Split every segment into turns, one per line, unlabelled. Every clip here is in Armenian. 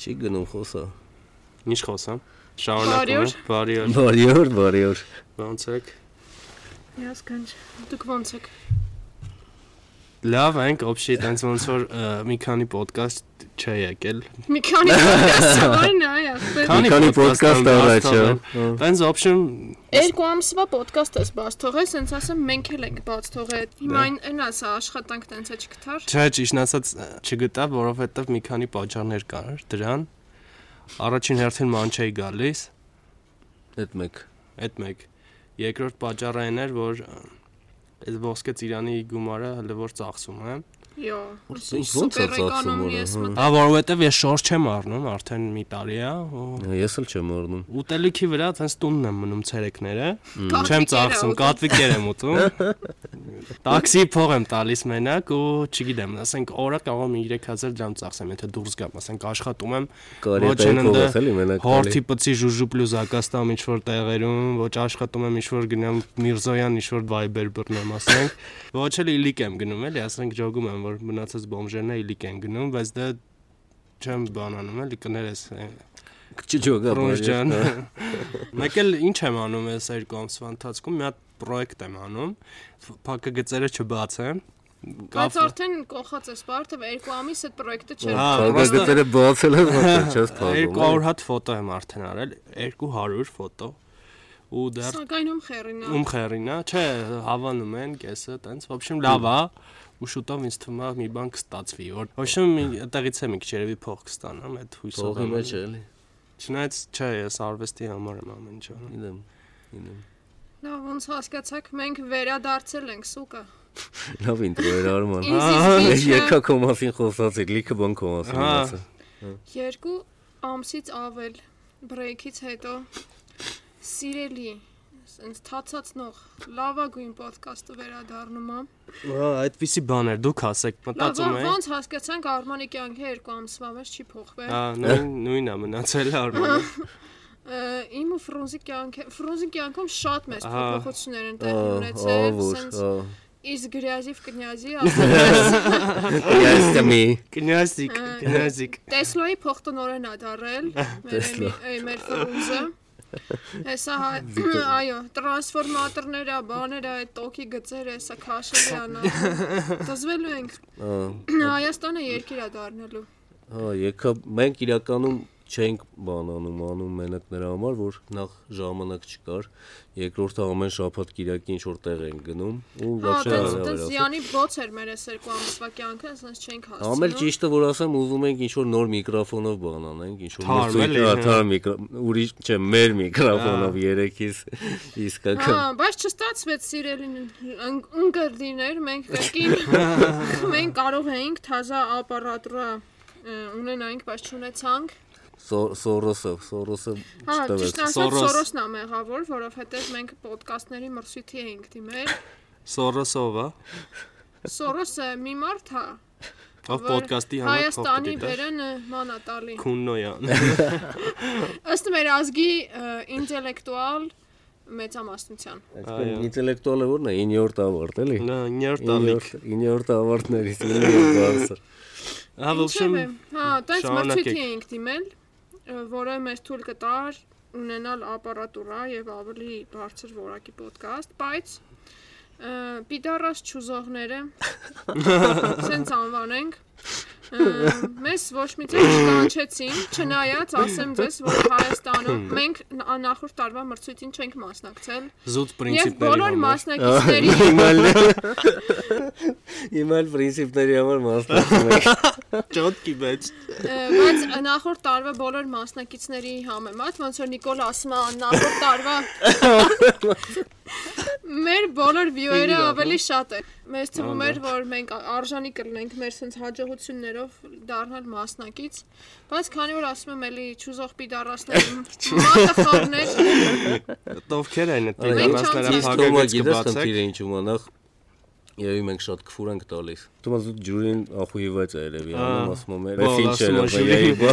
Չի գնում խոսա։
Ինչ խոսամ։ Շարունակում եմ։ Բարի օր։
Բարի օր, բարի օր։
Ոնց եք։
Ես կանչ։ Դուք ոնց եք։
Լավ ենք, օբշի տենց ոնց որ ը, մի քանի ոդկաստ չի եկել։
Մի քանի podcast-ն այ ասել։
Մի քանի podcast առաջ, հա։
Տենց օբշն
Երկու ամսվա podcast էս բաց թողել, սենց ասեմ մենք էլ ենք բաց թողել։ Հիմա
չէ, ճիշտ ասած չգտա,
այն այն ասա աշխատանք տենց է չկթար։
որովհետև մի քանի պատճառներ կար դրան։ Առաջին հերթին ման չէի գալիս,
Այդ մեկ։
այդ մեկ։ Երկրորդ պատճառը այն էր, որ ը, այդ ոսկե ծիրանի գումարը հələ որ ծախսում եմ։
Յո։
Ոնց ոնց է ծախսում օրը։
Հա, որովհետև ես շորջ չեմ առնում, արդեն մի տարի է։ ու-
Ես էլ չեմ առնում։
Ուտելիքի վրա հենց տունն եմ մնում ցերեկները։ Չեմ
Կատվիկերը
ծախսում,
ուտում։
կատվիկեր եմ ուտում։ Տաքսի փող եմ տալիս մենակ ու չգիտեմ, ասենք օրը կարող եմ 3000 դրամ ծախսեմ, եթե դուրս գամ, ասենք աշխատում եմ։
Կարի
ոչ
է
հեննդե
փողոց էլի մենակ։
Հորթի պծի ժուժուպլու զակաստամ ինչ որ տեղերում, ոչ աշխատում եմ ինչ որ գնամ Միրզոյան ինչ որ Viber բռնեմ, ասենք։ Ոչ էլ իլիկ եմ գնում, էլի, ասենք ջոգում եմ, որ մնացած բոմժերն է իլիկ են գնում, բայց դա չեմ բանանում, էլի կներես։ է,
Չջոգա
Ռոժ ջան։ Մեկ էլ ինչ եմ անում այս երկու ամսվա ընթացքում, մի հատ պրոյեկտ եմ անում։ Փակը գծերը չբացեմ։
Բայց
կավը-
արդեն կողած էս բարթը երկու ամիս այդ պրոյեկտը չէր։
Կարգացել է
Հա, պրոստը
բացել է, ոնց չես հա։ թաղում։
200 հատ ֆոտո եմ արդեն արել, 200 ֆոտո։ Ու դեռ
Սակայն ում խերինա։
ում խերինա, չէ, հավանում են, կեսը, տենց, ոբշեմ լավ է։ Ու շուտով ինձ թվում է մի բան կստացվի, որ ոբշեմ այդտեղից է մի քիչ երևի փող կստանամ այդ հույսով։
Փողի
եմ
մեջ է,
անում։
էլի։
Չնայած, չէ, ես արվեստի համար եմ ամեն ինչ անում։
Գիտեմ։ Գիտեմ։
Դա ոնց հասկացաք, մենք վերադարձել ենք սուկա։
Լավ ինտրո էր արման։
Ինձ
Ես
իսկ
Հա, եկա քո մասին խոսացի, լիքը բան քո մասին
Հա։
ասա։
երկու ամսից ավել բրեյքից հետո սիրելի սենց թացածնող լավագույն ոդկասթը վերադառնում եմ։
Հա, այդպիսի բաներ դուք ասեք,
Լավ,
մտածում
ո-
եմ։
ոնց հասկացանք Արմանի կյանքի երկու ամսվա մեջ չի փոխվել։
Հա, նույն նույնն է մնացել Արմանը։
Ը, Իմ ու Ֆրունզի կյանքը, Ֆրունզի կյանքում շատ մեծ
Ահա։
փոփոխություններ են տեղի ունեցել,
Ավոր,
սենց
հա։
իս գրյազի վ կնյազի, ասես,
Ես դեմի։
Կնյազիկ, կնյազիկ։
Տեսլոյի փոխտնօրեն ա դարել մեր
Տեսլո։
էմի- էյ, մեր ֆրունզը։ Հեսա հայ- այո, տրանսֆորմատորներ ա, բաներ ա, այդ տոկի գծեր, հեսա քաշելյանա։ Դզվելու ենք
Հա։
Հայաստանը երկիր ա դառնելու։
Հա, եկա մենք իրականում չենք բանանում անում մենակ նրա համար, որ նախ ժամանակ չկար, երկրորդը ամեն շաբաթ կիրակի ինչ որ տեղ են գնում ու
Հա,
բավական
դա դա
հարավեր ասա։
զյանի ոչ էր մեր այս երկու ամսվա կյանքը, ասես չենք
Ամեն
հասցնում։
ճիշտը որ ասեմ, ուզում ենք ինչ որ նոր միկրոֆոնով բան անենք, ինչ որ
Թարմ էլի, հա։
թար միկրո, ուրիշ չէ, մեր միկրոֆոնով երեքից
Հա,
իսկական։
բայց չստացվեց սիրելին ընկ- ընկերներ, մենք կրկին մենք կարող էինք թազա ապարատուրա ունենայինք, բայց չունեցանք։
Սո- Սորոսը, Սորոսը
Հա,
չտվեց։
ճիշտ ասած
Սորոս։
Սորոսն է մեղավոր, որովհետև մենք ոդկասթների մրցույթի էինք դիմել։
Սորոսովա,
Սորոսը մի մարդ է,
ով
որ
ոդկասթի համար փող
Հայաստանի
կդիտա։
վերանը ման է տալի։
Կուննոյան։
Ըստ մեր ազգի ը, ինտելեկտուալ մեծամասնության։
Այսինքն
Այո։
ինտելեկտուալը որն է 9-րդ ավարտ, էլի։
Նա 9 տալիկ։
9-րդ ավարտներից մինի բարձր։
Հա,
Ինչև
ոբշեմ,
է, հա, տենց
շարունակեք։
մրցույթի էինք դիմել, ը, որը մեզ թույլ կտար ունենալ ապարատուրա եւ ավելի բարձր որակի ոդկասթ, բայց ը, պիդարաս ճուզողները սենց անվանենք ը, մեզ ոչ մի ձև չկանչեցին, չնայած ասեմ ձեզ, որ Հայաստանում մենք ն- նախորդ տարվա մրցույթին չենք մասնակցել
զուտ
եւ
պրինցիպների
բոլոր
համար։
մասնակիցների
Իմալ Իմալ principների համար մասնակցում եք։
Ճոտկի մեջ։
Ա, բայց նախորդ տարվա բոլոր մասնակիցների համեմատ ոնց որ Նիկոլ ասում է նախորդ տարվա մեր բոլոր view-երը ավելի շատ է։ Մեզ թվում էր, որ մենք ա- արժանի կլինենք մեր sense հաջողություններով դառնալ մասնակից, բայց քանի որ ասում եմ էլի ճուզող պիդարասներ, մատախորներ,
Ովքեր են այդ
Մենք
դիմասները
չանցանք։
Իսկ ոմա
փակագծը
գիտես
բացեք։
քնքիրը ինչու մնախ Երևի մենք շատ քֆուր ենք տալիս։ Դու մոտ ջուրին ախուհիվեց է երևի անում, ասում եմ,
Բա,
«Էս ինչ
ասում
է,
ա,
վեյի բա»։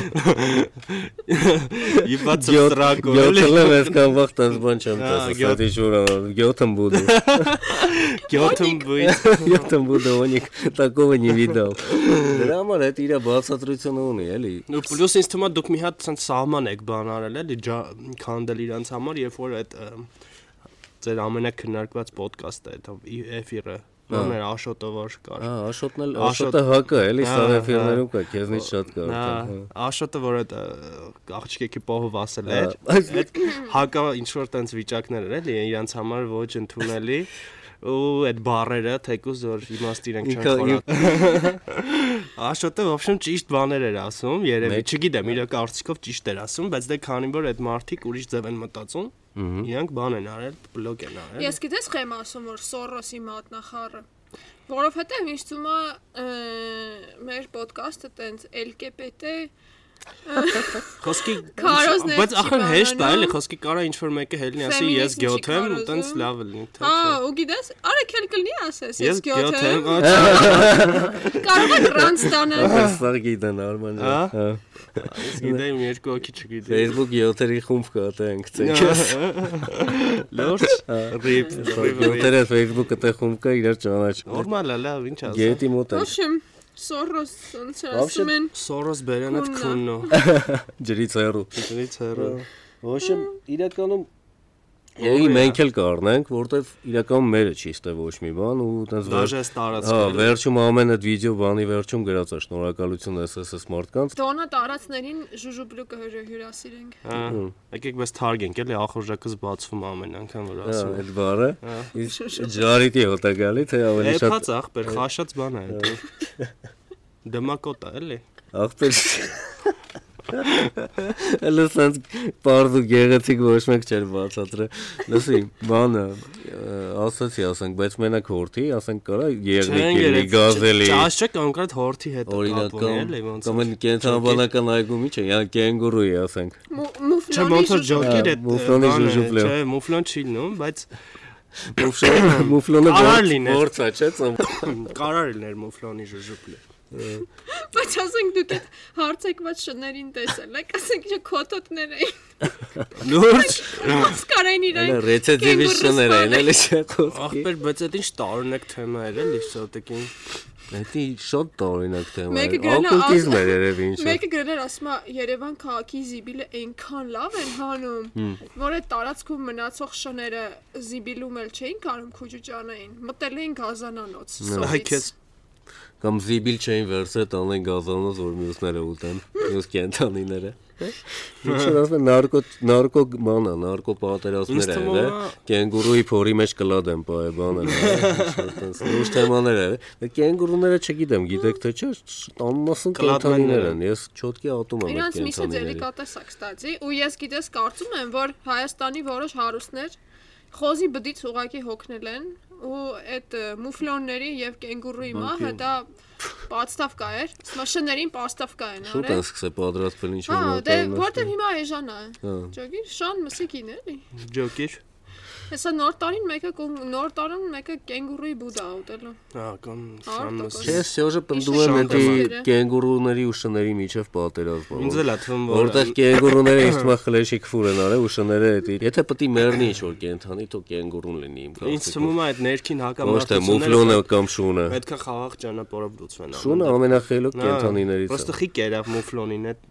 Իբաց
Գյոթ,
ծրակով էլի։
գյոթը ես կամ վախտ այս բան չեմ դե
Ա,
տեսած,
գյոթ։
դա ջուրը, գյոթը буду,
Գյոթում բույս։
գյոթը буду, ոնիկ такого не видал։ Դրա համար այդ իր բացատրությունը ունի, էլի։
Ну պլյուս ինձ թվում է դուք մի հատ ցենց սահման եք բան արել էլի ջա- քանդել իրանց համար, երբ որ այդ ըմ, ձեր ամենակնարկված ոդկասթը այդ ի- էֆիրը, նորներ Աշոտը որ կար։
Ահա, Աշոտն էլ,
Աշոտ-
Աշոտը հակը, էլի,
Հա,
սա
հա.
ռեֆերներում կա, քեզնից շատ կա
Նա
արդեն։ հա։
Աշոտը որ այդ ը, աղջիկի փողով ասել էր,
Ա, այս-
այդ հակա ինչ որ տենց վիճակներ էր էլի իրանց համար ոչ ընդունելի ու այդ բարերը թեկուզ որ իմաստ իրենք չեն
Ինքը-
խորա Աշոտը вообще ճիշտ բաներ էր ասում, երևի,
Մեկ-
չգիտեմ, իր կարծիքով ճիշտ էր ասում, բայց դե քանի որ այդ մարդիկ ուրիշ ձև են մտածում, իրանք բան են արել, բլոկ են արել։
Ես գիտես խեմ ասում որ Սորոսի մատնախառը որովհետև ինձ թվում է ը, մեր ոդկասթը տենց LKPT
Խոսքի
Քարոզներ
բայց
չի
ախր հեշտ է,
բանանում։
էլի, խոսքի կարա ինչ որ մեկը հելնի ասի, ես
Ֆեմինիզմ չի
գյոթ եմ, ու տենց
քարոզում։
լավ լինի, թե
հա
չէ։
ու գիտես արա
Այս սա գիտեն Արման ջան։ Հա։ Դե Facebook 7-երի խումբ կա, թե ենք ցենքես։ 7-երը Facebook-ը թե խումբ
Ես գյոթ եմ, ա, չա, Ա? ես գիտեմ, երկու հոգի չգիտեմ։ Լուրջ, ռիփ, ռիփ։
քել կլնի ասես ես գյոթեմ կարող եմ ռանստանալ
կա, իրար ճանաչում։
Նորմալ է, լավ, ինչ ասա։
Գետի մոտ է։
Ոչմ Սորոս ոնց է
Вообще-
ասում են
Սորոս բերանդ քուննո,
Ջրից հեռու։
դրից հեռու։
Ոչմ իրականում Էի մենք էլ կառնանք, որտեվ իրականում մերը չի ստե ոչ մի բան ու այտենց
Դաժե ստարած։
Հա, վերջում ամեն այդ վիդեո բանի վերջում գրած է շնորհակալություն SSS մարդկանց։
Դոնա տարածներին ժուժուբլուկը հյուրասիրենք։
Հա, եկեք մեզ թարգենք, էլի ախորժակս
Հա, այդ
բացվում ամեն անգամ որ ասում։
բառը։ Իսկ ջարիտի հոտ է գալի, թե
է։
ավելի շատ
Էփած ախպեր, խաշած բան է դա։ Դմակոտ է, էլի։
ախպեր։ Լսած բարձու գեղեցիկ ոչ մեկ չէր բացատրը։ Լսի, բանը ը, ասացի, ասենք, բայց մենակ հորթի, ասենք կարա
Չեն
երնիկի
երեք,
գազելի։
Ճաշ չէ կոնկրետ հորթի հետ
Օրինակ
կապում է, էլի ոնց։
կամ կենտրոնական այգու միջը, յա կենգուրուի ասենք։
Չէ, ոնց որ
Մուֆլոնի
ջոկի
Ա, մուֆլոնի ժուժուփլը։
է։ բան է, Չէ, մուֆլոն չի լինում, բայց
Մուֆլոնը մուֆլոնը
Արար լիներ։
որցա, չէ՞, ծամ։
կարար է ներ մուֆլոնի ժուժուփլը։
Բայց ասենք դուք այդ հարցեկված շներին տեսել եք, ասենք չէ կոտոտներ էին։
Լուրջ։
Ասկարային
Էլի
իրեն։
ռեցեդիվի
կենգուրուս
շները են,
բան է։
էլի չէ՞ խոսքի։
Ախպեր, բայց այդ ինչ տարօրինակ թեմա էր, էլի, սոտեկին։
Դա շատ տարօրինակ թեմա է։
Մեկը գրել է, աս-
Օկուլտիզմ է երևի ինչ։
Մեկը գրել էր ասում է Երևան քաղաքի զիբիլը այնքան լավ են հանում, որ այդ տարածքում մնացող շները զիբիլում էլ չէին կարող քուջուճանային։ Մտել էին գազանանոց։
Այ քեզ
Կամ զիբիլ չէին վերսը տանեն գազանոց, որ մյուսները ուտեն, մյուս կենթանիները։ Ինչեր ասում են նարկո նարկո մանա, նարկո
Ինձ
պատերազմներ են,
թվում
հա։
ա-
Կենգուրուի փորի մեջ կլադ են հա, բայ բանը, այտենց լուրջ թեմաներ են։ Դա կենգուրուները չգիտեմ, գիտեք թե չէ, աննասն
Կլատներն
կենթանիներ
են։
են։ Ես չոտքի ատում եմ այդ
Իրանց միսը
կենթանիները։
դելիկատես է կստացի ու ես գիտես կարծում եմ որ Հայաստանի որոշ հարուստներ խոզի բդից ուղակի հոգնել են ու այդ ը, մուֆլոնների եւ կենգուրուի մահը դա պաստավկա էր սմաշներին պաստավկա են
Շուտ են
արել
սկսել պատրաստվել ինչ
հա
որ
դե
մոտենում ես։
որտեւ հիմա էժան է
Հա։
ճոգի շան մսիկին էլի
ջոկիր։
հեսա նոր տարին մեկը կում- նոր տարին մեկը կենգուրուի բուդա ուտելու
Հա, կամ
Արտոք,
շամս։
Ես շոժը պնդում եմ
շանտը
դի
մտերը։
կենգուրուների ու շների միջև պատերազմը։
Ինձ
որ-
էլ է թվում, որ
Որտեղ կենգուրուները ինձ թվում է խլեշի քֆուր են արել ու շները էդի։ Եթե պիտի մեռնի ինչ որ կենթանի, թող կենգուրուն լինի իմ
Ինձ
կարծիքով։
թվում է այդ ներքին
Ոչ թե
հակամարտությունները
մուֆլոնը կամ շունը։
պետք է խաղաղ ճանապարհով լուծվեն։ ամեն
Շունը
դեպքում։
ամենախելոք
Նա,
կենթանիներից
Պրոստը
է։
խիկ էր մուֆլոնին այդ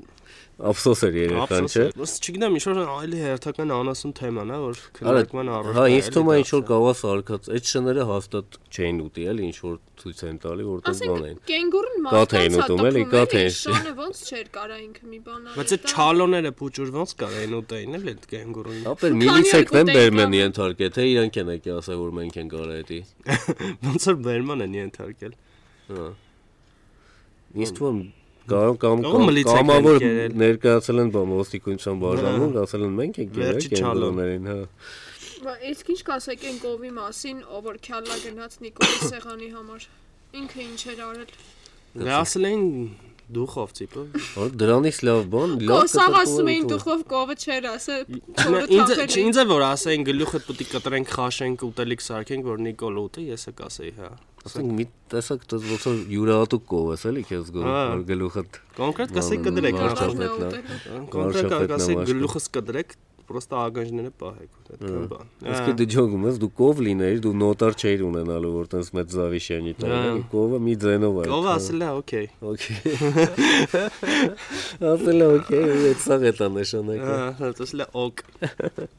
Ափսոս էր երեքան, չէ։
Պրոստը չգիտեմ, ինչ որ այլի հերթական անասուն թեման է, որ
Արա,
քննարկման առարկա
հա,
է,
ինձ
էլի
թվում է
դա
ինչ որ
ասա։
գավաս արկած, այդ շները հաստատ չէին ուտի, էլի ինչ որ ցույց են տալի, որտեղ բան են։
ասենք կենգուրուն
Կաթ էին
մարդկանց
ուտում, էլի, կաթ էին
հատակում էլի շանը ոնց չէր կարա ինքը մի բան արել
Բայց այդ չալոները փուճուր ոնց կարեն ուտեին էլ այդ կենգուրուին։
Ապեր
Քանի
միլիցեքն են
օր գուտենք,
բերմեն
ա։
ենթարկե, թե իրանք են եկել ասել որ մենք ենք արա դա։
Ոնց որ բերման են ենթարկել։
Ինձ Հա։ թվում կամ կամ
Կարող
կամ
մլիցեք են
կամավոր
կերել։
ներկայացել են բամ ոստիկունչյան բաժանում, ասել են մենք ենք
Հա։ Վերջի
իրենք
չալո։
կենտրոններին, հա։
Բա իսկ ինչ կասեք այն կովի մասին, ով որ քյալա գնաց Նիկոլի սեղանի համար։ Ինքը ինչ էր արել։
Դա ասել էին Դուխով տիպը։
Որ դրանից լավ բան, լավ
Կոսաղ
կտտում
ասում էին
ընդ
դուխով կովը չեր ասը։
Նա ինձ չի, ինձ է որ ասեն գլուխը պետք է կտրենք, խաշենք, ուտելիք սարքենք, որ Նիկոլ ուտի, ես է կասեի, հա։
ասենք մի տեսակ դες ոնց որ յուրահատուկ կով ես էլի քեզ գող
Հա։
որ գլուխդ
Կոնկրետ
Մանր-
կասեք կդրեք,
մանր-
հա,
շփոթ նա։
կոնկրետ
շփոթ
կասեք
նամաշ կա։
գլուխս կդրեք, պրոստա ագանջները պահեք, այդքան բան։
Իսկ դու ջոգում ես դու կով լինեիր դու նոտար չէիր ունենալու որ տես մեծ զավիշյանի տանը
Հա։
կովը մի ձենով հա, է
Ո՞վ ասել է, օքեյ։
օքեյ ասել է օքեյ այդ սա է դա նշանակը
Ահա, Հա, ասել է օկ։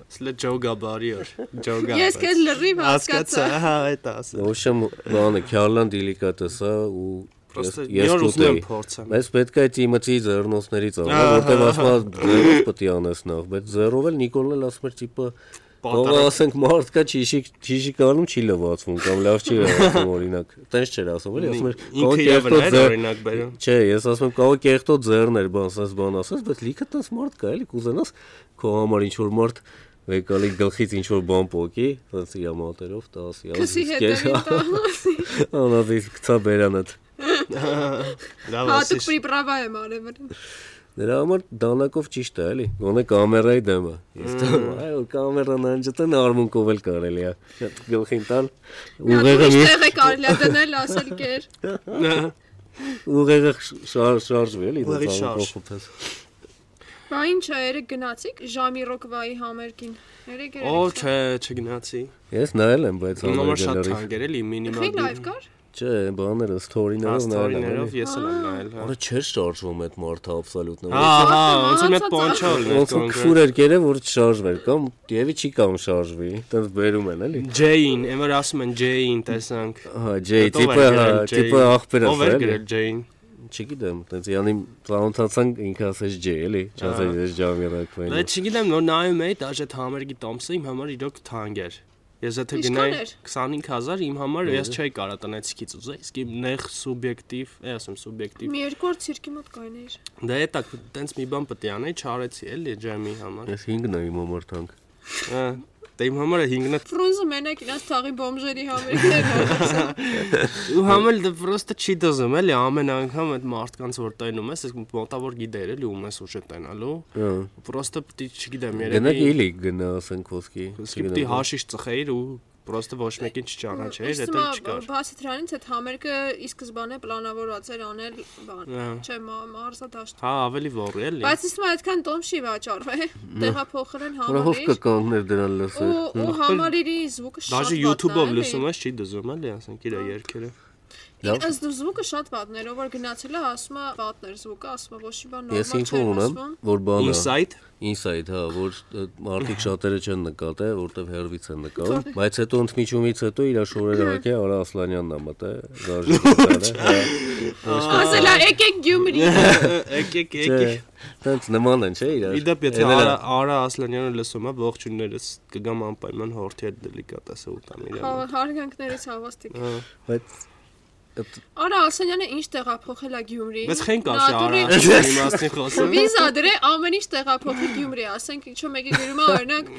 Ասել է ջոգա բարիոր, ջոգա։
Ես քեզ լրիվ հասկացա։
հա, այդ ասել։
ոչմ բանը քյարլան դիլիկատեսա ու
Պրոստա
ես- ես
ես ուտեմ
կուտեի
փորձեմ։
Բայց պետք է թիմացի ձեռնոցներից ավա, որտեղ ասում է ձեռով պետք է անես նախ, բայց ձեռով էլ Նիկոլն էլ ասում էր տիպը Ո՞վ
Պատարակ
ասենք մարդկա ճիշիկ ճիշիկանում չի լվացվում կամ լավ չի լվացվում օրինակ։ Տենց չէր ասում, էլի ասում էր «Կողոք
ինքը իվը
երթո
նա
ձեռ-»
օրինակ բերում։
Չէ, ես ասում եմ կարող կերտո ձեռներ բան, ասես բան ասես, բայց լիքը տես մարդ կա, էլի կուզենաս քո համար ինչ որ մարդ վեկալի գլխից ինչ որ բան փոքի, ասես իր մոտերով 10
Քսի հետևին տա։
Անավիզ գցա բերանդ։
Հա, Լավ
Հատուկ
ասես։
պրիպրավա եմ արել։
Նրա համար դանակով ճիշտ է, էլի։ Գոնե կամերայի դեմը։ Ես դեմ, այո, կամերան անջատն արմունկով էլ կարելի է։ Շատ Գլխին տալ։ Ուղեղը մի
Ուղեղը կարելի է դնել ասել կեր։
Հա,
ուղեղը շարժ շարժվի, էլի,
Ուղեղի շարժ։
փոփես։
Բա ի՞նչ է, երեք գնացիք Ժամի Ռոկվայի համերգին։ Երեք երեք։
Օ, չէ, չգնացի։
Ես նայել եմ, բայց
Նոմը շատ
համերգների։
թանկ էր էլի
Քրի
մինիմալ։
լայվ կար։
Չէ, բաները սթորիներով նայել եմ։
Աստորիներով
էլի։ Որը չէր շարժվում այդ մարդը աբսոլյուտն։ Ոնց որ քուր էր գերե, որ չշարժվեր կամ դիևի չի կամ շարժվի։ Այդպես բերում են,
ես էլ եմ նայել, հա։ Հա, հա, ոնց որ մետ պոնչոլ
Ահա,
էլի։
Ջեյն, ըմը ասում են Ջեյն, տեսանք։
Հա, ջեյ, տիպը, հա, տիպը ախպերս
Ով
է,
էր
էլի։
գրել Ջեյն։
Չգիտեմ, տենց յանի պլանոթացան ինքը ասես ջե, էլի, չասես ես ջամի ռակվեն։
Բայց Դե չգիտեմ, որ նայում էի, դաժե համերգի տոմսը իմ համար իրոք թանկ էր։ Ես եթե
Ինչքան
գնայի
էր?
25000 իմ համար ես չէի կարա տնեցիկից ուզեի, իսկ իմ նեղ սուբյեկտիվ, է ասեմ սուբյեկտիվ։
Մի երկու օր ցիրկի մոտ կայներ։
Դա էտա տենց մի բան պետք է անեի, չարեցի էլի ջամի համար։
Ես 5-ն եմ իմ համար թանկ։
Ա, Դա իմ համար 5-ն
Ֆրունզը մենակ իրաց թաղի բոմժերի համերգները։
Ու համել դա պրոստը չի դզում էլի ամեն անգամ այդ մարդկանց որ տենում ես, իսկ մոտավոր գիտեր էլի ում ես ուշ է տենալու։
Հա։
Պրոստը պիտի չգիտեմ
Գնանք
երևի։
էլի գնա ասենք ոսկի։
Իսկ պիտի
հա։
հաշիշ ծխեիր ու պրոստը ոչ մեկին չճանաչեիր, դա չկար։
Բացի դրանից այդ համերգը ի սկզբանե պլանավորված էր անել բան։
Ա,
Չէ, մա- մարզադաշտ։
Հա, ավելի ողր էլի։
Բայց իսկ մա այդքան տոմշի վաճառվե։ Տեղափոխել
Որով
համալիր։
կկաններ դրան լսել։
Ու ու համալիրի զուկը շատ։
Դաժե YouTube-ով լսում ես, չի դզում էլի, ասենք իր երգերը։
Լավ։
Ըստ դու զուկը շատ պատն էր, ով որ գնացել է, ասում է պատն էր զուկը, ասում է ոչ մի բան
Ես
նորմալ
ինֆո
չէր
ունեմ,
լսվում։
որ բանը
Insight
Inside, հա, որ ը, մարդիկ շատերը չեն նկատել, որտեվ հերվից են նկարում, բայց հետո ընդմիջումից հետո իր շորերը հակե Արա Ասլանյանն ա մտա, դաժե։
Ասել է եկեք Գյումրի։
եկեք եկեք։
Տենց նման են, չէ՞ իրար։
Իդեպ եթե
Էն էլ
Արա Արա Ասլանյանը լսում է, ողջուններս կգամ անպայման հորթի հետ դելիկատեսը ուտամ Հա, իրան։
Հա- Հարգանքներից հավաստիկ։
բայց այդ
Արա Ասանյանը ինչ տեղափոխել է Գյումրի։
Բայց խենք արշի Արա
Նատուրի-
Ասլանյանի մասին խոսում։
Վիզա դրե ամեն ինչ տեղափոխի Գյումրի, ասենք ինչու մեկի գրում է օրինակ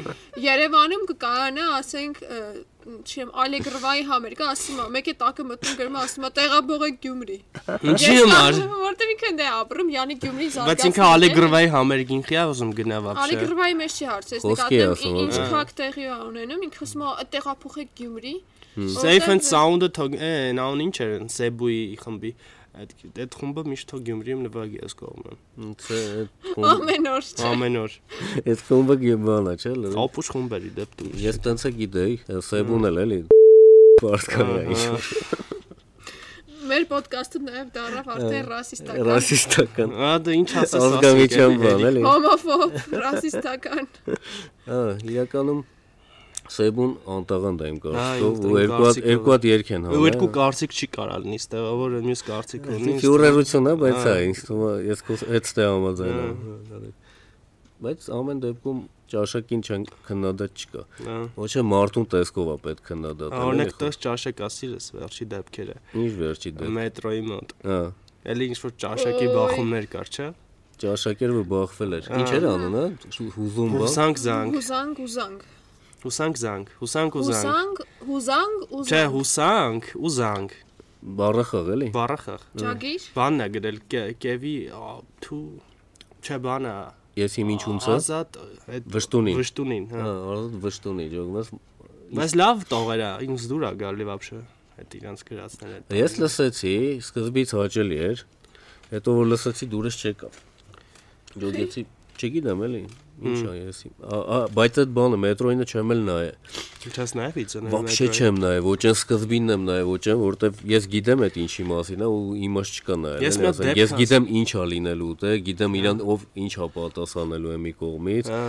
Երևանում կկայանա, ասենք ը, չեմ Ալեգրվայի համերգը, ասում է, մեկը տակը մտնում գրում է, ասում է տեղափոխեք Գյումրի։
Ինչի՞
Ես
համար։
ասում եմ, Որտեվ ինքն է ապրում, Յանի Գյումրի զարգացնում։
Բայց ինքը Ալեգրվայի համերգին խիա ուզում գնա վաբշե։
Ալեգրվայի մեջ չի հարց, ես
Խոսքի է ասում,
նկատեմ ի- ինչ
ա։
քաղաք տեղի է ունենում, ինքը ասում է տեղափոխեք Գյումրի։
Safe and Sound-ը թող է, նա ուն ինչ էր, Սեբուի խմբի։ Այդ այդ խումբը միշտ թող Գյումրիում նվագի ես կողմը։
Չէ, այդ խումբ-
Ամեն օր չէ։
Ամեն օր։
այդ խումբը գեմանա, չէ՞ լավ։
Ապուշ խումբը ի դեպ դու։
Ես տենց է գիտեի, Սեբուն էլ էլի բարդքան է ինչ որ
Մեր ոդկասթը նաև դարավ արդեն ռասիստական։
ռասիստական
Ա դա դե ինչ ասես
ազգամիջյան բան էլի։
Հոմոֆոբ, ռասիստական։
Հա, իրականում Սեբուն անտաղանդ է իմ կարծիքով
իմ
ու երկու հատ-
կարծիքով։
երկու հատ երկ են հա։
Ու երկու
հանել։
կարծիք չի կարալ լինի, ստեղավորը մյուս կարծիք ունի։
Ֆյուրերությունը, բայց հա, ինձ թվում է ես քո հետ ստե համաձայն եմ։ Բայց ամեն դեպքում ճաշակին չեն քննադատ չկա։ Ոչ է մարդուն տեսքով է պետք քննադատել։
Օրինակ տես ճաշակ ասիրս վերջի դեպքերը
ինչ վերջի դեպք։
մետրոյի մոտ։
Հա,
Էլի ինչ որ ճաշակի
Օй։
բախումներ կար, չէ՞։
ճաշակերը որ բախվել էր։ Ինչ էր անում, հա, հուզում բա։
Հուսանք զանգ,
Հուզանք, հուզանք։
հուսանք զանգ, հուսանք ու զանգ։
Հուզանք, հուզանք,
Չէ,
հուզանք։
հուսանք ու զանգ։
Բառը խղ էլի։
Բառը խղ։
Ջագիր։
Բանն է գրել կե- կեվի ա, թու չէ բանը
Ես իմ ինչունցը
ազատ այդ
վշտունին։
վշտունին, հա։
Հա, արդեն վշտունի ջոգնաս։
Բայց լավ տողեր է, ինձ դուր է գալի вообще այդ իրանց գրածները։ այդ
Ես լսեցի, սկզբից հաճելի էր, հետո որ լսեցի դուրս չեկավ։ Ջոգեցի, չգիտեմ էլի, ինչա ես։ իմ- ա- ա, Բայց այդ բանը մետրոյինը չեմ էլ նայե։
տողերը։ Չես նայվ իծը նայել։
Вообще չեմ նայե, ոչ այն սկզբինն եմ նայե, ոչ այն, որտեվ ես գիտեմ այդ ինչի մասին է ու իմաց չկա նայել։
Ես
էլի,
մի հատ
ասենք,
դեպք
Ես գիտեմ ինչ ա լինելու ուտե, գիտեմ իրան ով ինչ ա պատասխանելու է մի կողմից։
Հա։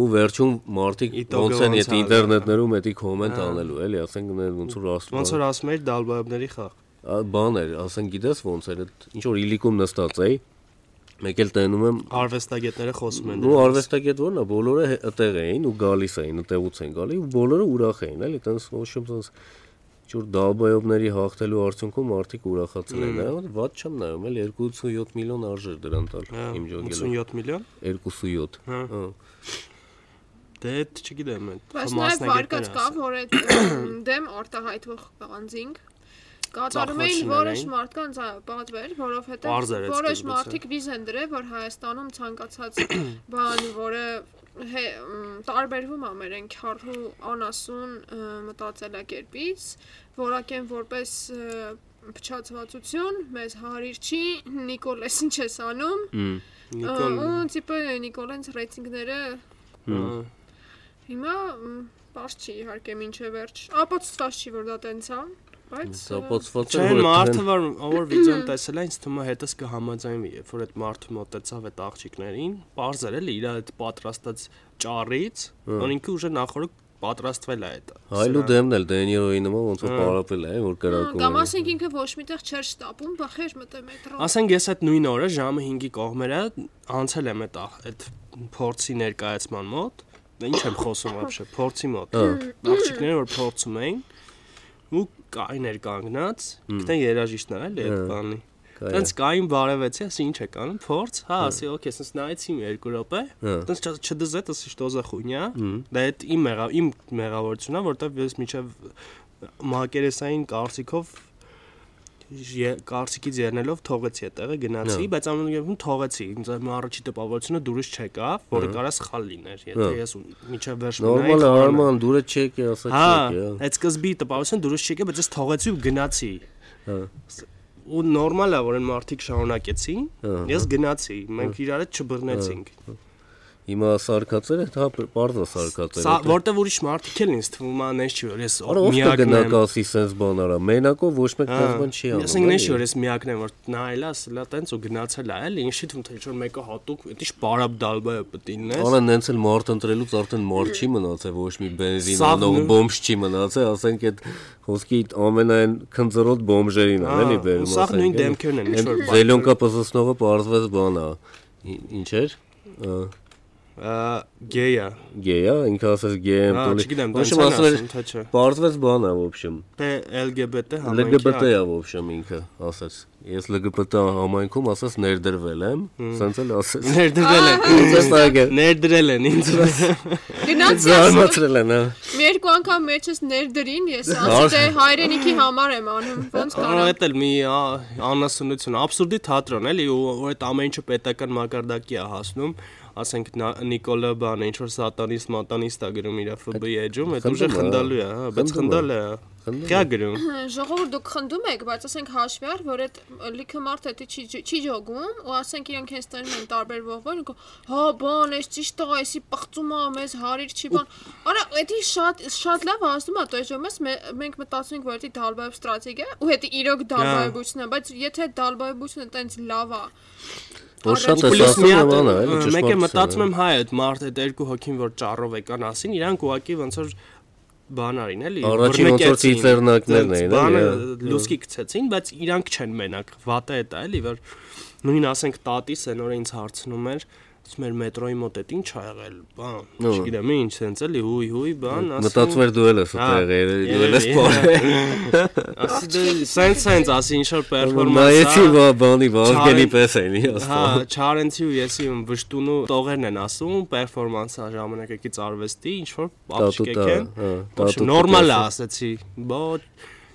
ու վերջում մարդիկ
Իտոգը
ոնց են այդ
ոնց ա, Հա։
ինտերնետներում էդի կոմենտ անելու, էլի, ասենք ներ ոնց որ
Ոնց
ասում
որ ասում էր դալբայաբների խաղ։
բաներ, ասենք գիտես ոնց էր, այդ ինչ որ իլիկում նստած էի, մեկ էլ տենում եմ
Արվեստագետները խոսում են։
ու արվեստագետ ո՞րն է, բոլորը հե- այդտեղ էին ու գալիս էին, այդտեղուց են գալի ու բոլորը ուրախ էին, էլի, տենց ոչմ տենց ինչ որ դալբայովների հաղթելու արդյունքում մարդիկ ուրախացել են, այո, ված չեմ նայում, էլ 2.7 միլիոն արժեր դրան տալ
Հա,
իմ ջոգելը
87 միլիոն։
2.7
Հա։
հա
Դե այդ չգիտեմ այդ
Բայց նաև
մասնագետները
վարկած
ասա։
կա, որ այդ ըմ, դեմ արտահայտվող անձինք կատարում
Ծաղկոչներ
էին որոշ
էին։
մարդկանց ա, պատվեր,
Պարզ էր
որովհետև
այդ
որոշ
սկզբից, հա։
մարդիկ վիզ են դրել, որ Հայաստանում ցանկացած բան, որը հե ըմ, տարբերվում է մեր քարհու անասուն ը, մտածելակերպից, որակեն որպես ը, փչացվածություն, մեզ հարիր չի, Նիկոլես ինչ ես անում։
Նիկոլ
ը, Ու տիպը Նիկոլենց ռեյտինգները
հա,
Հիմա պարզ չի իհարկե ինչե վերջ։ Ապացուցված չի որ դա տենց է, բայց
Զապացված
Չէ,
էր որ այդ
մարդը որ որ վիդեոն տեսել է, ինձ թվում է հետս կհամաձայնվի, երբ որ այդ մարդը մտածավ այդ աղջիկներին, པարզ էր էլի իր այդ պատրաստած ճառից, որ ինքը ուժը նախորդ պատրաստվել է Հա։ այդ։
Հայլու դեմն էլ Դենիրոյի նման ոնց որ պարապել է, որ
ը,
կրակում
կամ
է։
ասենք ինքը ոչ միտեղ չէր շտապում, բախեր մտե մետրո։
Ասենք ես այդ նույն օրը ժամը 5-ի կողմերը անցել եմ այդ ա- այդ փորձի ներկայացման մոտ, դա ինչ եմ խոսում вообще, փորձի մոտ։ Աղջիկները որ փորձում էին ու կային էր կանգնած, գիտեն երաժիշտն էր էլի այդ
Հա,
բանի։
Կայ է։
Տենց կային բարևեցի, ասի ինչ է կանում, փորձ, հա, ասի օքեյ, սենց նայեցի մի երկու րոպե։
Հա։
Տենց ՉԴԶ, տես что за хуйня։ Դա այդ իմ մեղա, իմ մեղավորությունն է, որտեվ ես միչև մակերեսային կարծիքով ե- կարծիքից ելնելով թողեցի այդտեղը գնացի, բայց ամենուրեւում թողեցի։ Ինձ այդ առաջի տպավորությունը դուրս չեկավ, որը կարա սխալ լիներ, եթե
Հա.
ես միչև վերջ
Նորմալ է, Արման, դուրը չեք է, ասա
Հա,
չեք է։ հա։
այդ սկզբի տպավորությունը դուրս չեկավ, բայց ես թողեցի ու գնացի։
Հա։
ու նորմալ է որ այն մարդիկ շարունակեցին
Ահա։
ես գնացի
Հա։
մենք իրար հետ չբռնեցինք
Հիմա սարկածեր է, հա, պարզ է սարկածեր։
սա որտեվ ուրիշ մարդիկ էլ ինձ թվում է նես չի որ ես
հա, Արա ով
միակն եմ
կգնակասի սենց բան արա։ Մենակով ոչ մեկ տես բան չի անում։
ասենք նես
էլի։
չի որ ես միակն եմ որ նայելա սլա տենց ու գնացել է էլի ինչի թվում թե ինչ որ մեկը հատուկ դա ի՞նչ բարապ դալբա է պտինես
Արա նենց էլ մարդ ընտրելուց արդեն մարդ չի մնացել, ոչ մի բենզին
Սաղ
անող
նույն-
բոմժ չի մնացել, ասենք այդ հոսքի ամենայն քնձրոտ բոմժերին է,
Հա,
էլի
ու
բերում ասենք։
սաղ նույն
էլի։ դե-
դեմքերն են, ինչ
Էն
որ բան-
Զելոնկա պզսնողը պարզվեց բանա։ Ինչ էր։ Ա,
գեյա
Գեյա, ինքը ասես գեյ եմ
Հա,
տոլի։
չգիտեմ,
Ոչ
դա
ասում
ինքան
էր,
ասում, թե չէ։
Պարզվեց բան է, в общем։
թե
դե-
LGBT համայնքի
LGBT-ա, в общем, ինքը ասաց։ Ես LGBT համայնքում ասաս ներդրվել եմ, սենց էլ ասաց։
ներդրել են
Ինչպես ագա։
ներդրել են ինձ
Գնաց ես,
Զարմացրել են, հա։
մի երկու անգամ մեջս ներդրին, ես
Բար-
ասի դե հայրենիքի համար եմ անում, ոնց
Ահա
կարա։
դա էլ մի ա, անասունություն, абսուրդի թատրոն էլի, ու ու այդ ամեն ինչը պետական մակարդակի է հասնում, ասենք նա- Նիկոլա բանը ինչ որ սատանիստ, մատանիստ է գրում իր FBI էջում, այդ ուժը
խնդում է,
խնդալու է, հա, բայց
խնդում է,
խնդալը։ Կա գրում։
Ժողովուրդ դուք խնդում եք, բայց ասենք հաշվի առ, որ այդ լիքը մարդը դա չի չի ջոգում, ու ասենք իրանք հենց տերում են տարբեր ողորն, հա բան, էս ճիշտ է, էսի պղծում է, մեզ հարիր չի բան։ Արա, դա շատ շատ լավ ասում է, դու ես մենք մտածում ենք, որ դա դալբայբ ստրատեգիա, ու դա իրոք դալբայբությունն է, բայց եթե դալբայբությունը տենց լավ է,
Որ շատ է
Ու լույս մի
ասում
հատ,
բան է,
ը,
էլի ճշմարտ։
Մեկը մտածում եմ, հա, այդ մարդ այդ երկու հոգին, որ ճառով եկան, ասին, իրանք ուղակի ոնց որ բան արին, էլի։
Առաջին ոնց որ
բռնկեցին,
ծիծեռնակներն
ձեզ
էին,
Բանը
էլի, հա,
լուսկի գցեցին, բայց իրանք չեն մենակ, վատը է դա, էլի, որ նույն ասենք տատիս են, որ ինձ հարցնում էր, ասում էր մետրոյի մոտ է ինչ ա եղել, բան,
Ո։
չգիտեմ ինչ, սենց էլի, հույ, հույ, բան, ասում
Մտածում էր դու էլ ես այդտեղ, երևի դու էլ ես
երևի,
պարը։
Ասի դե սենց սենց ասի ինչ որ
Նայեցի
պերֆորմանս։
բա- բանի վարգենի
Չարեն-
պես էլի,
Հա,
ասում։
Չարենցի ու եսի ու վշտունու տողերն են ասում, պերֆորմանսը ժամանակակից արվեստի ինչ որ աղջիկ
Տատուտա,
եկեն։
հա,
Ոչ,
տատուտա
Նորմալ է
ասում։
ասացի։ Բո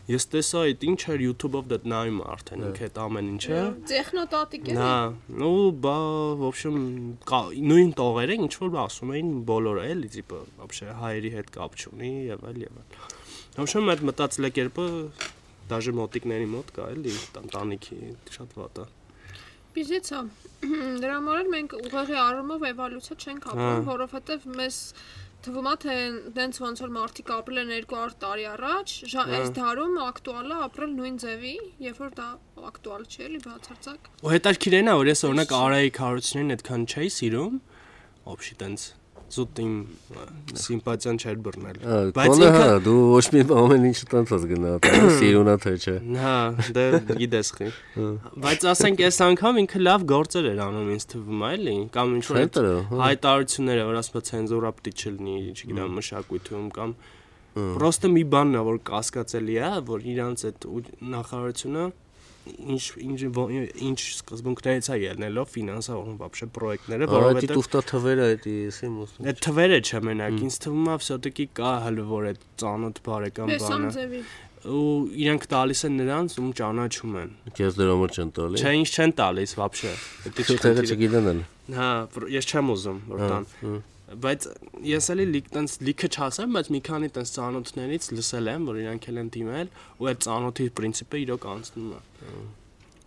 Ես տեսա այդ ինչ էր YouTube-ով դա նայում արդեն ինքը այդ ամեն ինչը։
Տեխնոտատիկ էլի։
Հա։ Նա, ու բա, в общем, կա նույն տողերը ինչ որ ասում էին բոլորը էլի, տիպը, вообще հայերի հետ կապ չունի եւ այլ եւ այլ։ В общем, այդ մտածելակերպը դաժե մոտիկների մոտ կա էլի, տանտանիքի շատ վատ է։
Բիզնեսը դրա համար մենք ուղղակի առումով էվալյուցիա չենք
Հա։
ապրում, որովհետև մեզ թվում է թե դենց ոնց որ մարդիկ ապրել են 200 տարի առաջ, ժա-
Հա։
այս դարում ակտուալ է ապրել նույն ձևի, երբ որ դա ակտուալ չէ, լի բացարձակ։
Ու հետաքրքիր է նա, որ ես օրինակ Արայիկ Հարությունյանին այդքան չէի սիրում, ոբշի տենց զուտ իմ ա, սիմպաթիան չէր բռնել։
Բայց հա, դու ոչ մի ամեն ինչ տանցած գնա, սիրունա թե չէ։
Հա, դե գիտես խի։ Բայց ասենք այս անգամ ինքը լավ գործեր էր անում ինձ թվում է, էլի, կամ ինչ որ
Ֆիլտրը,
այդ
հա։
հայտարարությունները, որ ասում է ցենզուրա պիտի չլինի, չգիտեմ, մշակույթում կամ
հա։
Պրոստը մի բանն է, որ կասկածելի է, որ իրանց այդ ու- նախարարությունը ինչ ինչ ո- ինչ սկզբունքներից է ելնելով ֆինանսավորում բաբշե պրոյեկտները,
Արայտի
որովհետև
տուֆտա թվերը այդ էսի մոստը։
այդ թվերը չէ մենակ, ինձ թվում է, всё-таки կա հələ որ այդ ծանոթ բարեկամ
Տեսամ
բանը։
ձևի։
Ու իրանք տալիս են նրանց, ում ճանաչում են։
Քեզ դրա համար չեն տալի։
Չէ, ինչ չեն տալիս вообще։ Դա
Քեզ չգիտեն էլ։
Հա, որ ես չեմ ուզում որ
Հա։
տան։ Բայց ես էլի լիք տենց լիքը չասեմ, բայց մի քանի տենց ծանոթներից լսել եմ, որ իրանք էլ են դիմել ու այդ ծանոթի principle-ը իրոք անցնում է։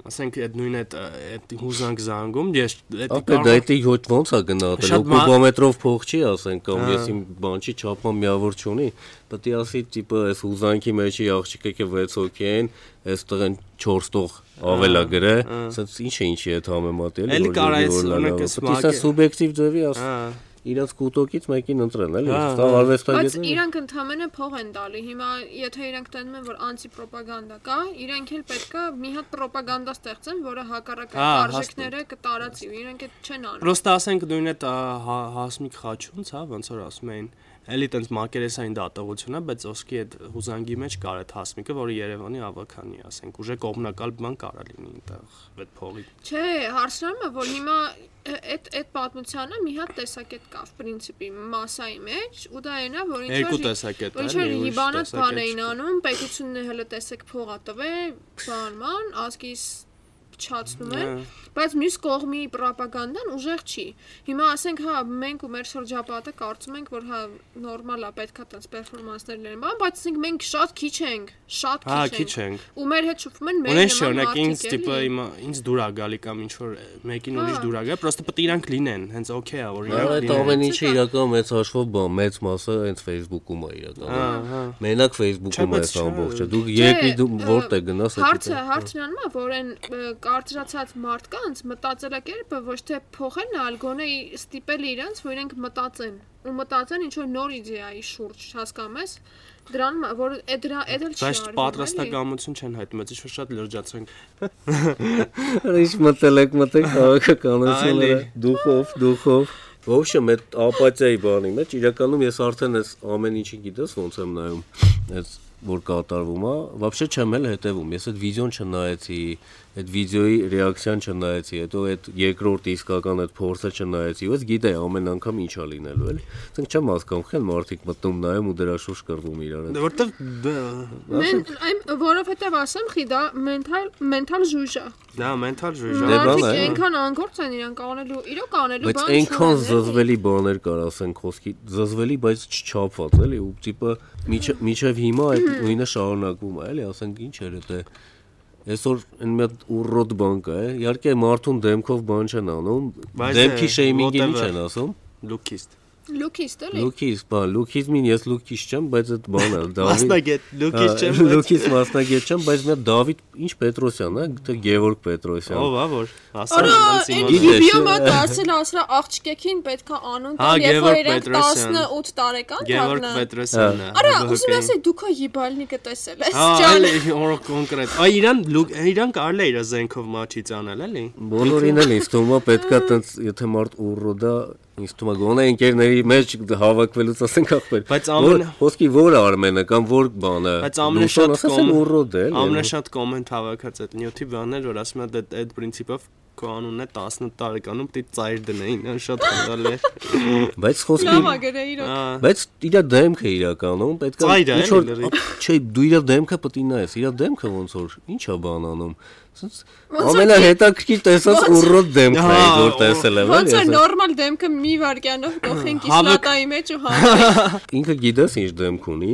Ասենք այդ նույն այդ այդ հուզանք զանգում, ես դա
Ապա դա էտի հոտ ոնց է գնահատել։
Շատ
ու
մա-
Կուբոմետրով փող չի ասենք կամ ես իմ բանջի չափը միավոր չունի։ Պետք է ասի տիպը այս հուզանքի մեջի աղջիկը կը 6 հոգի են, այստեղ են 4 տող ավելա գրե, ասած ինչ է ինչի հետ համեմատել։
Էլի
որ
կարա այս
որ լավ է,
օրինակ այս
պետք է սա
մակ-
սուբյեկտիվ ձևի աս
Հա,
իրաց կուտոկից մեկին ընտրեն, էլի։
Հա,
Սա
հա։
Բայց
արվեստագետ։
իրանք ընդհանրապես փող են տալի։ Հիմա եթե իրանք տենում են, որ անտիպրոպագանդա կա, իրանք էլ պետքա մի հատ պրոպագանդա ստեղծեն, որը
Հա,
հակառակական արժեքները կտարածի, ու իրանք այդ չեն անում։
Պրոստը ասենք նույն այդ ա, հա- Հասմիկ Խաչունց, հա, ոնց որ ասում էին, էլի տենց մակերեսային դատողությունն է, բայց ոսկի այդ հուզանգի մեջ կար այդ Հասմիկը, որը Երևանի ավականի, է, ասենք, ուժե կողմնակալ բան կարա լինի այնտեղ, այդ փողի։
Չէ, հարցնում եմ, որ հիմա ա- այդ այդ պատմությանը մի հատ տեսակետ կա principi mass-ի մեջ, ու դա այնա, որ ինչ
Երկու տեսակետ
Ինչ որ հիբանատ բան էին անում, պետությունն է հələ տեսեք փողա տվե, բանման, ազգիս փչացնում են,
Ա.
բայց մյուս կողմի ռոպագանդան ուժեղ չի։ Հիմա ասենք, հա, մենք ու մեր շրջապատը կարծում ենք, որ հա նորմալ է, պետքա տես պերֆորմանսներ լինեն, բան, բայց ասենք մենք շատ քիչ ենք, շատ
Հա,
քիչ
քիչ
ենք։
ենք։
Ու մեր հետ շփվում են մեր
Ունեն շոնակ ինձ տիպը իմ ինձ դուր է գալի կամ ինչ որ մեկին ուրիշ
Հա.
դուր է գալի, պրոստը պետք է իրանք լինեն, հենց օքեյ է որ
Այդ
իրանք լինեն։
ամեն ինչը իրական մեծ հաշվով բան, մեծ մասը հենց Facebook-ում է իրական։
Հա, հա։
Մենակ
Չէ,
Facebook-ում է
բայց
սա
չէ,
ամբողջը։ Դու երկրի դու
ը,
որտե գնաս
Հարցը հարցն անում է, որ այն ը, կարծրացած մարդկանց մտածելակերպը ոչ թե փոխելն է, այլ գոնե ի- ստիպել է իրենց, որ իրենք մտածեն ու մտածեն ինչ որ նոր իդեայի շուրջ, հասկանում ես։ Դրան մ- որ է դրա է դեռ չի
Բայց
արվում, էլի։
պատրաստակամություն չեն հայտնված, ինչ որ շատ լրջացանք։
Ինչ մտել եք, մտեք
Այլի։
քաղաքականությունները դուխով, դուխով։ Ոբշը մեր ապաթիայի բանի մեջ իրականում ես արդեն այս ամեն ինչի գիտես ոնց եմ նայում։ Այս որ կատարվում է, вообще չեմ էլ հետևում։ Ես այդ վիդեոն չնայեցի, այդ վիդեոյի ռեակցիան չնայեցի, հետո այդ երկրորդ իսկական այդ փորձը չնայեցի։ Ես գիտեի ամեն անգամ ինչա լինելու, էլի։ Ասենք չեմ հասկանում, քան մարդիկ մտնում նայում ու դրա շուրջ կռվում իրար։
Դե որտեվ դա
Մեն այն որովհետև ասեմ, խի դա մենթալ մենթալ զույժ է։
դա մենթալ ժույժ է։
բան է,
Մարդիկ
հա։
այնքան անգործ են իրենք անելու, իրոք անելու
Բայց
բան
այնքան
չունեն, էլի։
զզվելի բաներ կար, ասենք խոսքի, զզվելի, բայց չչափված, էլի, ու տիպը միջև միջև հիմա այդ նույնը շարունակվում է, էլի, ասենք ինչ էր դա։ Այսօր այն մի հատ ուրոդ բան կա, է, իհարկե մարդուն դեմքով բան չեն անում,
Բայց
դեմքի
է,
շեյմինգին ինչ
whatever.
են ասում։
Լուքիստ։
Լուքիստ էլի։
Լուքիս, բա, լուքիզմին ես լուքիս չեմ, բայց այդ բանը Դավիթ Հա,
Մասնագետ Լուքիս չեմ։ բայց-
Լուքիս մասնագետ չեմ, բայց մի հատ Դավիթ, ինչ Պետրոսյան, հա, թե Գևորգ Պետրոսյան։
Ո՞վ է որ։
Արա,
Ասա
Գիտես,
այն Գիբիոմը դասել ասրա աղջիկեքին պետքա անուն
Հա,
տալ, երբ որ
Գևորգ
իրենք
Պետրոսյան։
18 տարեկան
Գևորգ
դառնան։
Պետրոսյանն է։
Արա,
հոբոկեի։
ուզում ես է դու քո հիբալնիկը տեսել ես,
Հա,
ջան։
այլ օր կոնկրետ։ Այ իրան լուք իրան կարելի է իր զենքով մաչից անել, էլի։
Բոլորին էլ ինձ թվում է պետքա տենց եթե մարդ ուրոդա ինձ թվում է գոնե ընկերների մեջ հավաքվելուց ասենք ախպեր
Բայց ամենը-
որ- ոսկի որ արմենը կամ որ բանը
Բայց ամենաշատ
կոմ ուրոդ է
ամենաշատ կոմենտ հավաքած այդ նյութի բաներ, որ ասում են դա այդ principle-ով քո անունն է 18 տարեկանում պիտի ծայր դնեին, այն շատ խնդալի է։
Բայց խոսքի
Լավ է գրե իրոք։
Ա,
Բայց իր դեմքը իրականում պետք է
Ծայր է, էլի, լրի։
չէ, դու իր դեմքը պետք է նայես, իր դեմքը ոնց որ ի՞նչ է բան անում։ Սենց
որ
ամենահետաքրքիր տեսած
ոնց-
ուռոտ դեմքն է,
Հա,
որ տեսել եմ,
Ոնց
էլի։
է
ասես,
նորմալ դեմքը մի վարկյանով գողեն
Հավը-
կիսլատայի մեջ ու համ։
Ինքը գիտես ինչ դեմք ունի։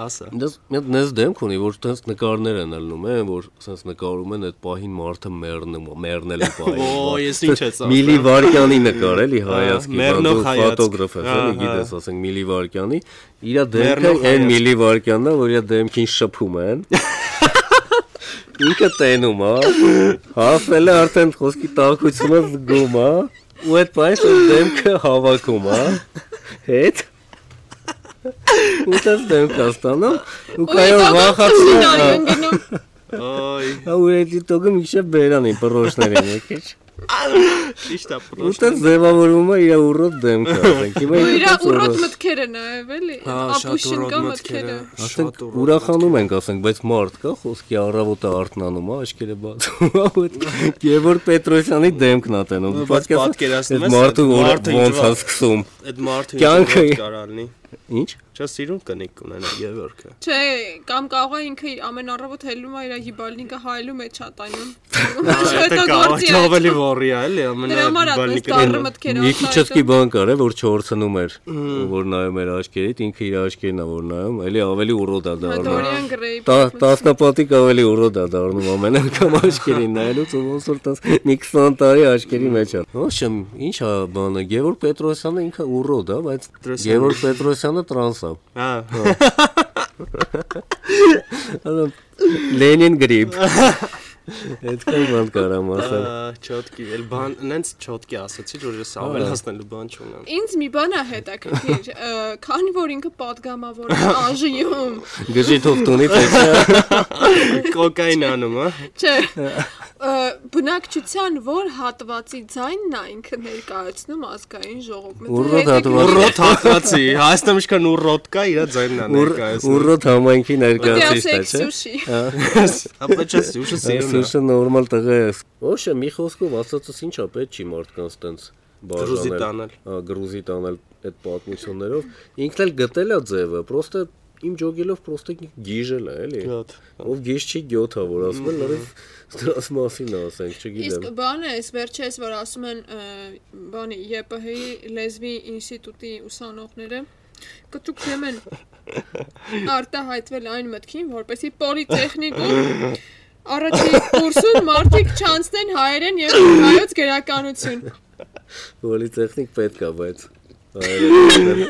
ասա։
Դες մի հատ նես դեմք ունի, որ տես նկարներ են ելնում, է, որ սենց նկարում են այդ պահին մարդը մեռնում, է, մեռնել է պահին։
Օ,
բա-
ես ինչ է ծաղրում։
Միլի Վարյանի նկար էլի հայացքի, բա
մեռնող
դու
հայացք։
ֆոտոգրաֆ ես, էլի
Ահա։
գիտես, ասենք Միլի Վարյանի, իր դեմքը
Մեռնող
այն
հայացք։
Միլի Վարյանն է, որ իր դեմքին շփում են։ Ինքը տենում է, հասել է արդեն խոսքի տակությունը զգում է, ու այդ պահին սենց դեմքը հավաքում է։ Հետ Ուտես դեմք աստանա ու կայո վախացնում
Սինալ
է։
են գնում։
Ոй,
Հա ու էլի տոգը մի քիչ բերանին բռոշներին եկեչ։
ճիշտ է պրոշտ։
Ուտես ձևավորվում է իր ուռոտ դեմքը, ասենք։ Հիմա
Ու իր
իրոք
ուրոտ մտքերը նաև էլի։
Հա, շատ
Ապուշին
ուրոտ
կա
մտքերը,
մտքերը։
Ասենք ուրախանում ենք, ասենք, բայց մարդ կա, խոսքի առավոտը արթնանում է, աչքերը բացում է, ու այդ Գևոր Պետրոսյանի դեմքն է տենում։
Բայց
Պատկերացնես, այդ
պատկերացնում ես,
մարդը
այդ
որ ոնց
մարդը
է
ինչվա-
սկսում։
Այդ մարդը
Կյանքը-
ինչ կարալնի։
Ինչ։
Չէ, սիրուն կնիկ կունենա Եվորքը։
Չէ, կամ կարող է ինքը իր ամեն առավոտ հելնում է իր հիբալնիկը հայելում է չատանում։
Դա կարելի ավելի վորի է, էլի,
Դրա համար
ամենաբալնի
ատես կարը մտքերը
Մի քիչսկի բան կար, է, որ չորցնում էր, որ նայում էր աչքերից, ինքը իր աչքերն է որ նայում, էլի ավելի ուռոտ է դառնում։
Դորիան Գրեյ։
Տա- Տասնապատիկ ավելի ուռոտ է դառնում ամեն անգամ աչքերին նայելուց ու ոնց որ տաս մի 20 տարի աչքերի մեջ է։ Ոչ, ի՞նչ է բանը, Գևոր Պետրոսյանը ինքը ուռոտ է, բայց
Պետրոսյանը։
Գևոր Պետրոսյանը տրանս է։
Հա,
Ալա, Լենին գրիպ։ Այդքան բան կարամ ասել։
ա, չոտկի, էլ բան, նենց չոտկի ասացի, որ ես ավելացնելու բան չունեմ։
Ինձ մի բան է հետաքրքիր, ը, քանի որ ինքը падգամավոր է ԱԺ-ում։
Գժիթով տունի պետք է
Կոկային անում, հա։
Չէ։ ը, Բնակչության որ հատվածի ձայնն է ինքը ներկայացնում ազգային ժողովում։
Ուռոտ հատվածը։
Ուրոտ հակացի, հայաստան միշտ կան ուրոտ կա, իրա ձայնն է ներկայացնում։
ուռոտ համայնքի ներկայացուցիչն է, չէ՞։
Դասեք սուշի։
Ապա չէ, ուշը սիրուն է։
Սուրսը նորմալ տղա է։ Ոչ, մի խոսքով ասածս ինչա պետք չի մարդկանց տենց
Գրուզի տանել։
Հա, գրուզի տանել այդ պատմություններով։ Ինքն էլ գտել է ձևը, պրոստը իմ ջոգելով պրոստը գիժել է, էլի։
Գոտ։
Ով գիժ չի գյոթա, որ ասում են, լավ, դրանց մասին է ասենք,
Իսկ
չգիտեմ։
բանը էս վերջերս որ ասում են ը, բանի ԵՊՀ-ի լեզվի ինստիտուտի ուսանողները կտուկեմ են արտահայտվել այն մտքին, որպեսի պոլիտեխնիկում առաջի կուրսում մարդիկ չանցնեն հայերեն եւ հայոց գրականություն։
Որի տեխնիկ պետք է, բայց հայերեն։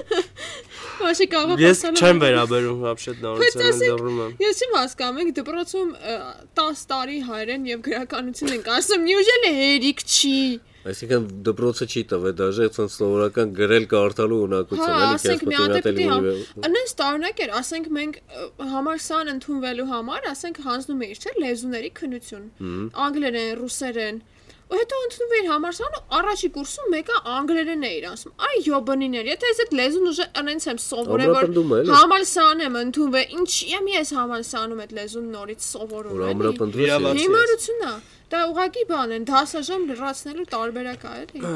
Ոչի կարող
Ես չեմ վերաբերում вообще նորից
ասեք-
ընդդռում եմ։
Ես իմ հասկանում եք դպրոցում ը, 10 տարի հայերեն եւ գրականություն ենք ասում, նյուժել է հերիք չի։
Այսինքն դպրոցը չի տվել, դաժե ցած սովորական գրել կարդալու ունակություն,
Հա,
էլի
ասենք մի
պետք
հատ
է
պետք է
լինի։
Անես տարնակ էր, ասենք մենք ը, համար սան ընդունվելու համար, ասենք հանձնում էիր, չէ՞, լեզուների քնություն։ Անգլերեն, ռուսերեն։ Ու հետո ընդունում էիր համար սան, ու առաջի կուրսում մեկը անգլերեն էր ասում։ Այ յոբնիներ, եթե ես այդ լեզուն ուժը անենց եմ սովորել,
Ամրապնդում է,
որ
էլի։
համալսան եմ ընդունվել, ինչի եմ ես համալսանում այդ լեզուն նորից սովորում։
Որ
էլի։
ամրապնդվես։
Իրավացի։
Հիմարություն է։ Դա ուղակի բան են, դասաժամ լրացնելու տարբերակ է, էլի։
Ա,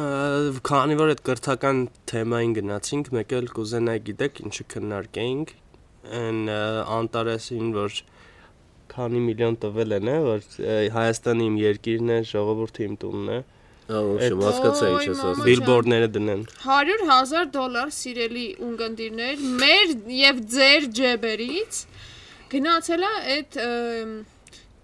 Քանի որ այդ կրթական թեմային գնացինք, մեկ էլ կուզենայի գիտեք ինչը քննարկեինք, այն ա, Անտարեսին, որ քանի միլիոն տվել են, է, որ ա, Հայաստանի իմ երկիրն է, ժողովրդի իմ տունն է,
Հա, ոչմ հասկացա ինչ ես ասում։
բիլբորդները դնեն։
100000 դոլար սիրելի ունգնդիրներ մեր եւ ձեր ջեբերից գնացել է այդ ըմ,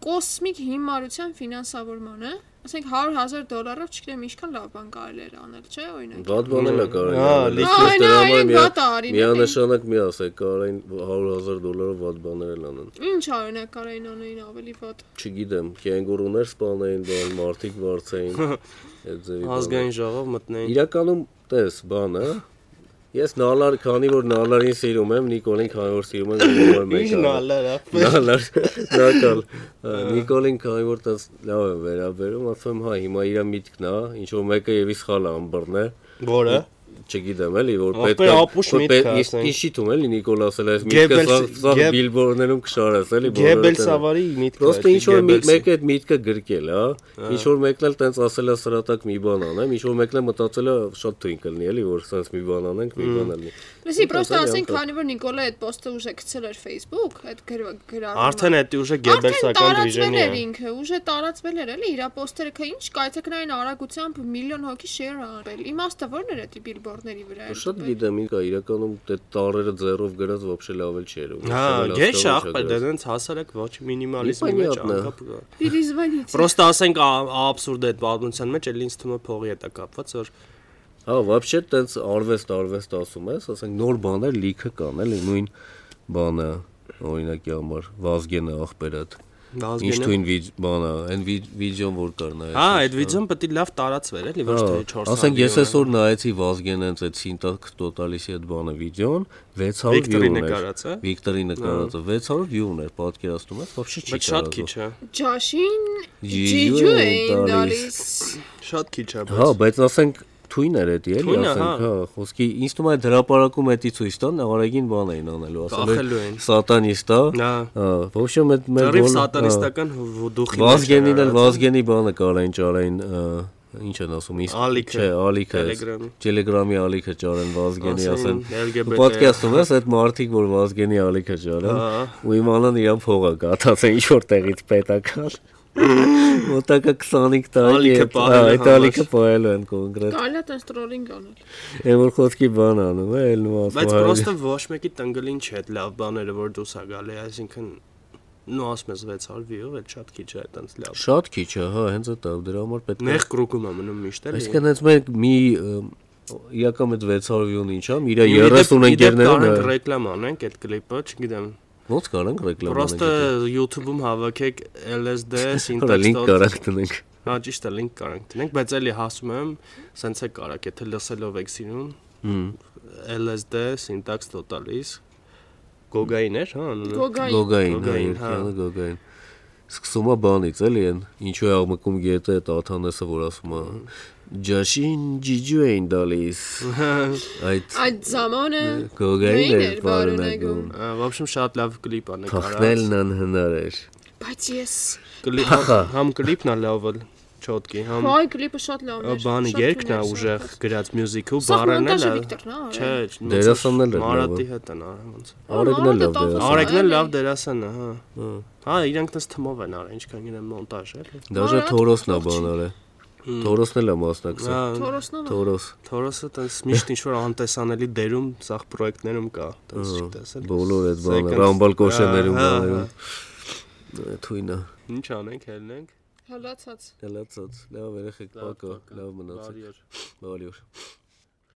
կոսմիկ հիմարության ֆինանսավորմանը ասենք 100000 դոլարով չգիտեմ ինչքան լավ բան կարելի էր անել չէ օրինակ
Բադ բանել է կարելի։
Հա,
անել, իսկ դրա համար
լիքը
այն այն
միա-
վատ է արին, էլի։
Միանշանակ մի ասեք, կարային 100.000 դոլարով վատ բաներ են անեն։
ինչ օրինակ կարային անեին ավելի վատ
Չգիտեմ, կենգուրուներ սպանային, բան մարտիկ վարձային։ Այդ ձևի։ բաներ։
Ազգային ժողով մտնեին։
Իրականում տես բանը Ես նալար, քանի որ նալարին սիրում եմ, Նիկոլին քանի որ սիրում եմ, գումար մեկ։
Ինչ
արել։
նալար, ապա։
Նալար, նակալ։ Նիկոլին քանի որ տես լավ է վերաբերում, ասում հա հիմա իր միտքն է, ինչ որ մեկը եւի սխալ է ամբռնե։
Որը։
չգիտեմ էլի որ
Ապեր
պետք է
ապուշ
որ
միտք
պետք-
է,
իս-
ասենք։
Իշիթում էլի Նիկոլասել այս միտքը սա
Գեբելս-
սա
Գեբ-
բիլբորներում կշարես էլի
Գեբելս ավարի միտքը։
Պրոստը ինչ որ մեկը այդ միտքը գրկել, հա։ Ինչ որ մեկն էլ տենց ասել է սրատակ մի բան անեմ, ինչ որ մեկն է մտածել է շատ թույն կլինի էլի, որ սենց մի բան անենք, մի բան ալնի։
Լսի, պրոստը
Անկախ,
ասենք,
անկախ։
քանի որ Նիկոլը այդ պոստը ուժը գցել էր Facebook, այդ գրառումը։
Արդեն այդ ուժը
Արդեն
գեբելսական
տարածվել
դիժենի է։
էր ինքը, ուժը տարածվել էր էլի իր պոստերը, քա ինչ կայցեք նայն արագությամբ միլիոն հոգի շեյր արել։ Իմաստը ո՞րն էր այդ բիլբորդների վրա։ էր
Շատ
դպել։
գիտեմ, ինքա իրականում դե տարերը ձեռով գրած ոբշե լավել չէր։ ու
Հա,
ասել է,
գեշ
«Աստղը ոչ է
ախպեր, դա
գրած»։
դենց հասարակ ոչ մինիմալիզմի մեջ
Непонятно.
անկապ։ գա։
Պիրիզվանից։
Պրոստը ասենք ա- աբսուրդ է այդ պատմության մեջ, էլ ինձ թվում է փողի հետ է կապված, որ
Հա, вообще տենց արվեստ արվեստ ասում ես, ասենք նոր բաներ լիքը կան, էլի նույն բանը օրինակի համար Վազգենը ախպերը ինչ
ազգենը։
թույն վիդ- բանը, այն վի- վիդեոն որ կար նայես։
Հա, այդ վիդեոն պետք է լավ տարածվեր, էլի, ոչ թե 400։
Ասենք ես այսօր նայեցի Վազգեն հենց այդ Սինտակ տոտալիսի այդ բանը վիդեոն 600 view
Վիկտորի
ուներ։
նկարած, հա։
Վիկտորի նկարածը 600 view ուներ, պատկերացնում ես, вообще չի
Բայց շատ քիչ է։
Ջաշին
Ջիջու
ջիջու
էին
էին
տալիս։
գալիս։
Շատ քիչ է,
Հա,
բայց
բայց ասենք թույն էր էդի էլի,
Թույն է,
ասենք,
հա։
հա, խոսքի ինձ թվում է այդ հրապարակում էդի ցույց տան, արագին բան էին անելու, ասել
Կախելու
էր
էին։
սատանիստա։
նա
Հա, ոբշեմ այդ մեր
Ձերիվ
բոլ- հա,
սատանիստական ոդուխի
Վազգենին էլ Վազգենի բանը կարային ճարային ա, ինչ են ասում, ինս-
Ալիքը,
չէ, ալիքը,
Telegram-ի։
Telegram-ի ալիքը ճարեն Վազգենի ասեն։
LGBT
Պոդքասթում ես այդ մարդիկ, որ Վազգենի ալիքը ճարեն,
Հա։
ու իմանան իրա փողը գտած է ինչ որ տեղից պետական։ Մոտակա 25 տարի
Ալիքը
է, հա,
պահելու
այդ
համար։
ալիքը պահելու են կոնկրետ։
Կարելի է տես տրոլինգ անել։
Է որ խոսքի բան անում է, ելնում ասում։
Բայց
«Հայ,
պրոստը ոչ մեկի տնգլին չէ այդ լավ բաները, որ դուս է գալի, այսինքն նո ասում ես 600 view-ով, էլ շատ քիչ է այտենց լավ։
շատ քիչ է, հա, հենց այդ է, դրա համար պետք է
Նեղ կրուկում է մնում միշտ էլի։
Այսինքն հենց մենք մի ը, իրական այդ 600 view-ն ինչա, իր
Մի դեպ-
30
մի դեպ
ընկերներն
Կարանք
է։
ռեկլամ անենք այդ կլիպը, չգիտեմ։
Ոնց կարանք ռեկլամ անենք։
Պրոստը YouTube-ում հավաքեք LSD
Հա, լինք
syntax.org։
կարանք դնենք։
Հա, ճիշտ է, link կարանք դնենք, բայց էլի հասում եմ, սենց է կարակ, եթե լսելով եք սիրում, LSD syntax totalis Գոգային էր, հա, անունը։
Գոգային։
Գոգային, հա,
Գոգային, հա։
երկանը գոգային։ Սկսում է բանից, էլի այն, ինչու է աղմկում գետը այդ աթանեսը, որ ասում է Ջաշին ջիջու էին դալիս։ Այդ
Այդ ժամանը
գոգային
Նույն
էր
էր
բառնակում։
վարունակում։
Ա, Ոբշեմ շատ լավ կլիպ է նկարած։
Փախնելն անհնար էր։
բայց ես
Կլիպ համ կլիպն է լավը, չոտկի, համ
հայ կլիպը Հա, շատ լավն էր։
բանի
շատ
երգն է
թույն էր,
ուժեղ
շատ
գրած մյուզիկու,
Սա
բառն էլ
մոնտաժը
է։
Վիկտորն է արել։
Չէ,
Դերասանն էլ էր լավը։
Մարատի հետ են արել ոնց։
Արեգն էլ
Մարդ
լավ
է տալիս
դեր։
Արեգն էլ
Արել
լավ դերասան է,
էի։
հա։ Հա, իրանք դες թմով են արել, ինչքան գնա մոնտաժ էլի։
Դաժե Թորոսն է բանալը։ Թորոսն էլ է մասնակցում։ Թորոս։
Հա, Թորոսը տես միշտ ինչ որ անտեսանելի
Արդ, ողջույն։ Թորոսնով։
դերում
Բոլոր այդ բանը, ռամբալ կոշերներում բաներում։
սախ պրոյեկտներում կա, տես չտես էլ։ Second- Հա, հա,
Թույնա։
Ինչ անենք, հելնենք։
Հալացած։
Լավ ծած, լավ երեխեք,
Լավ,
պակա,
պակա,
լավ մնացեք։
Բարի օր։
Բարի օր։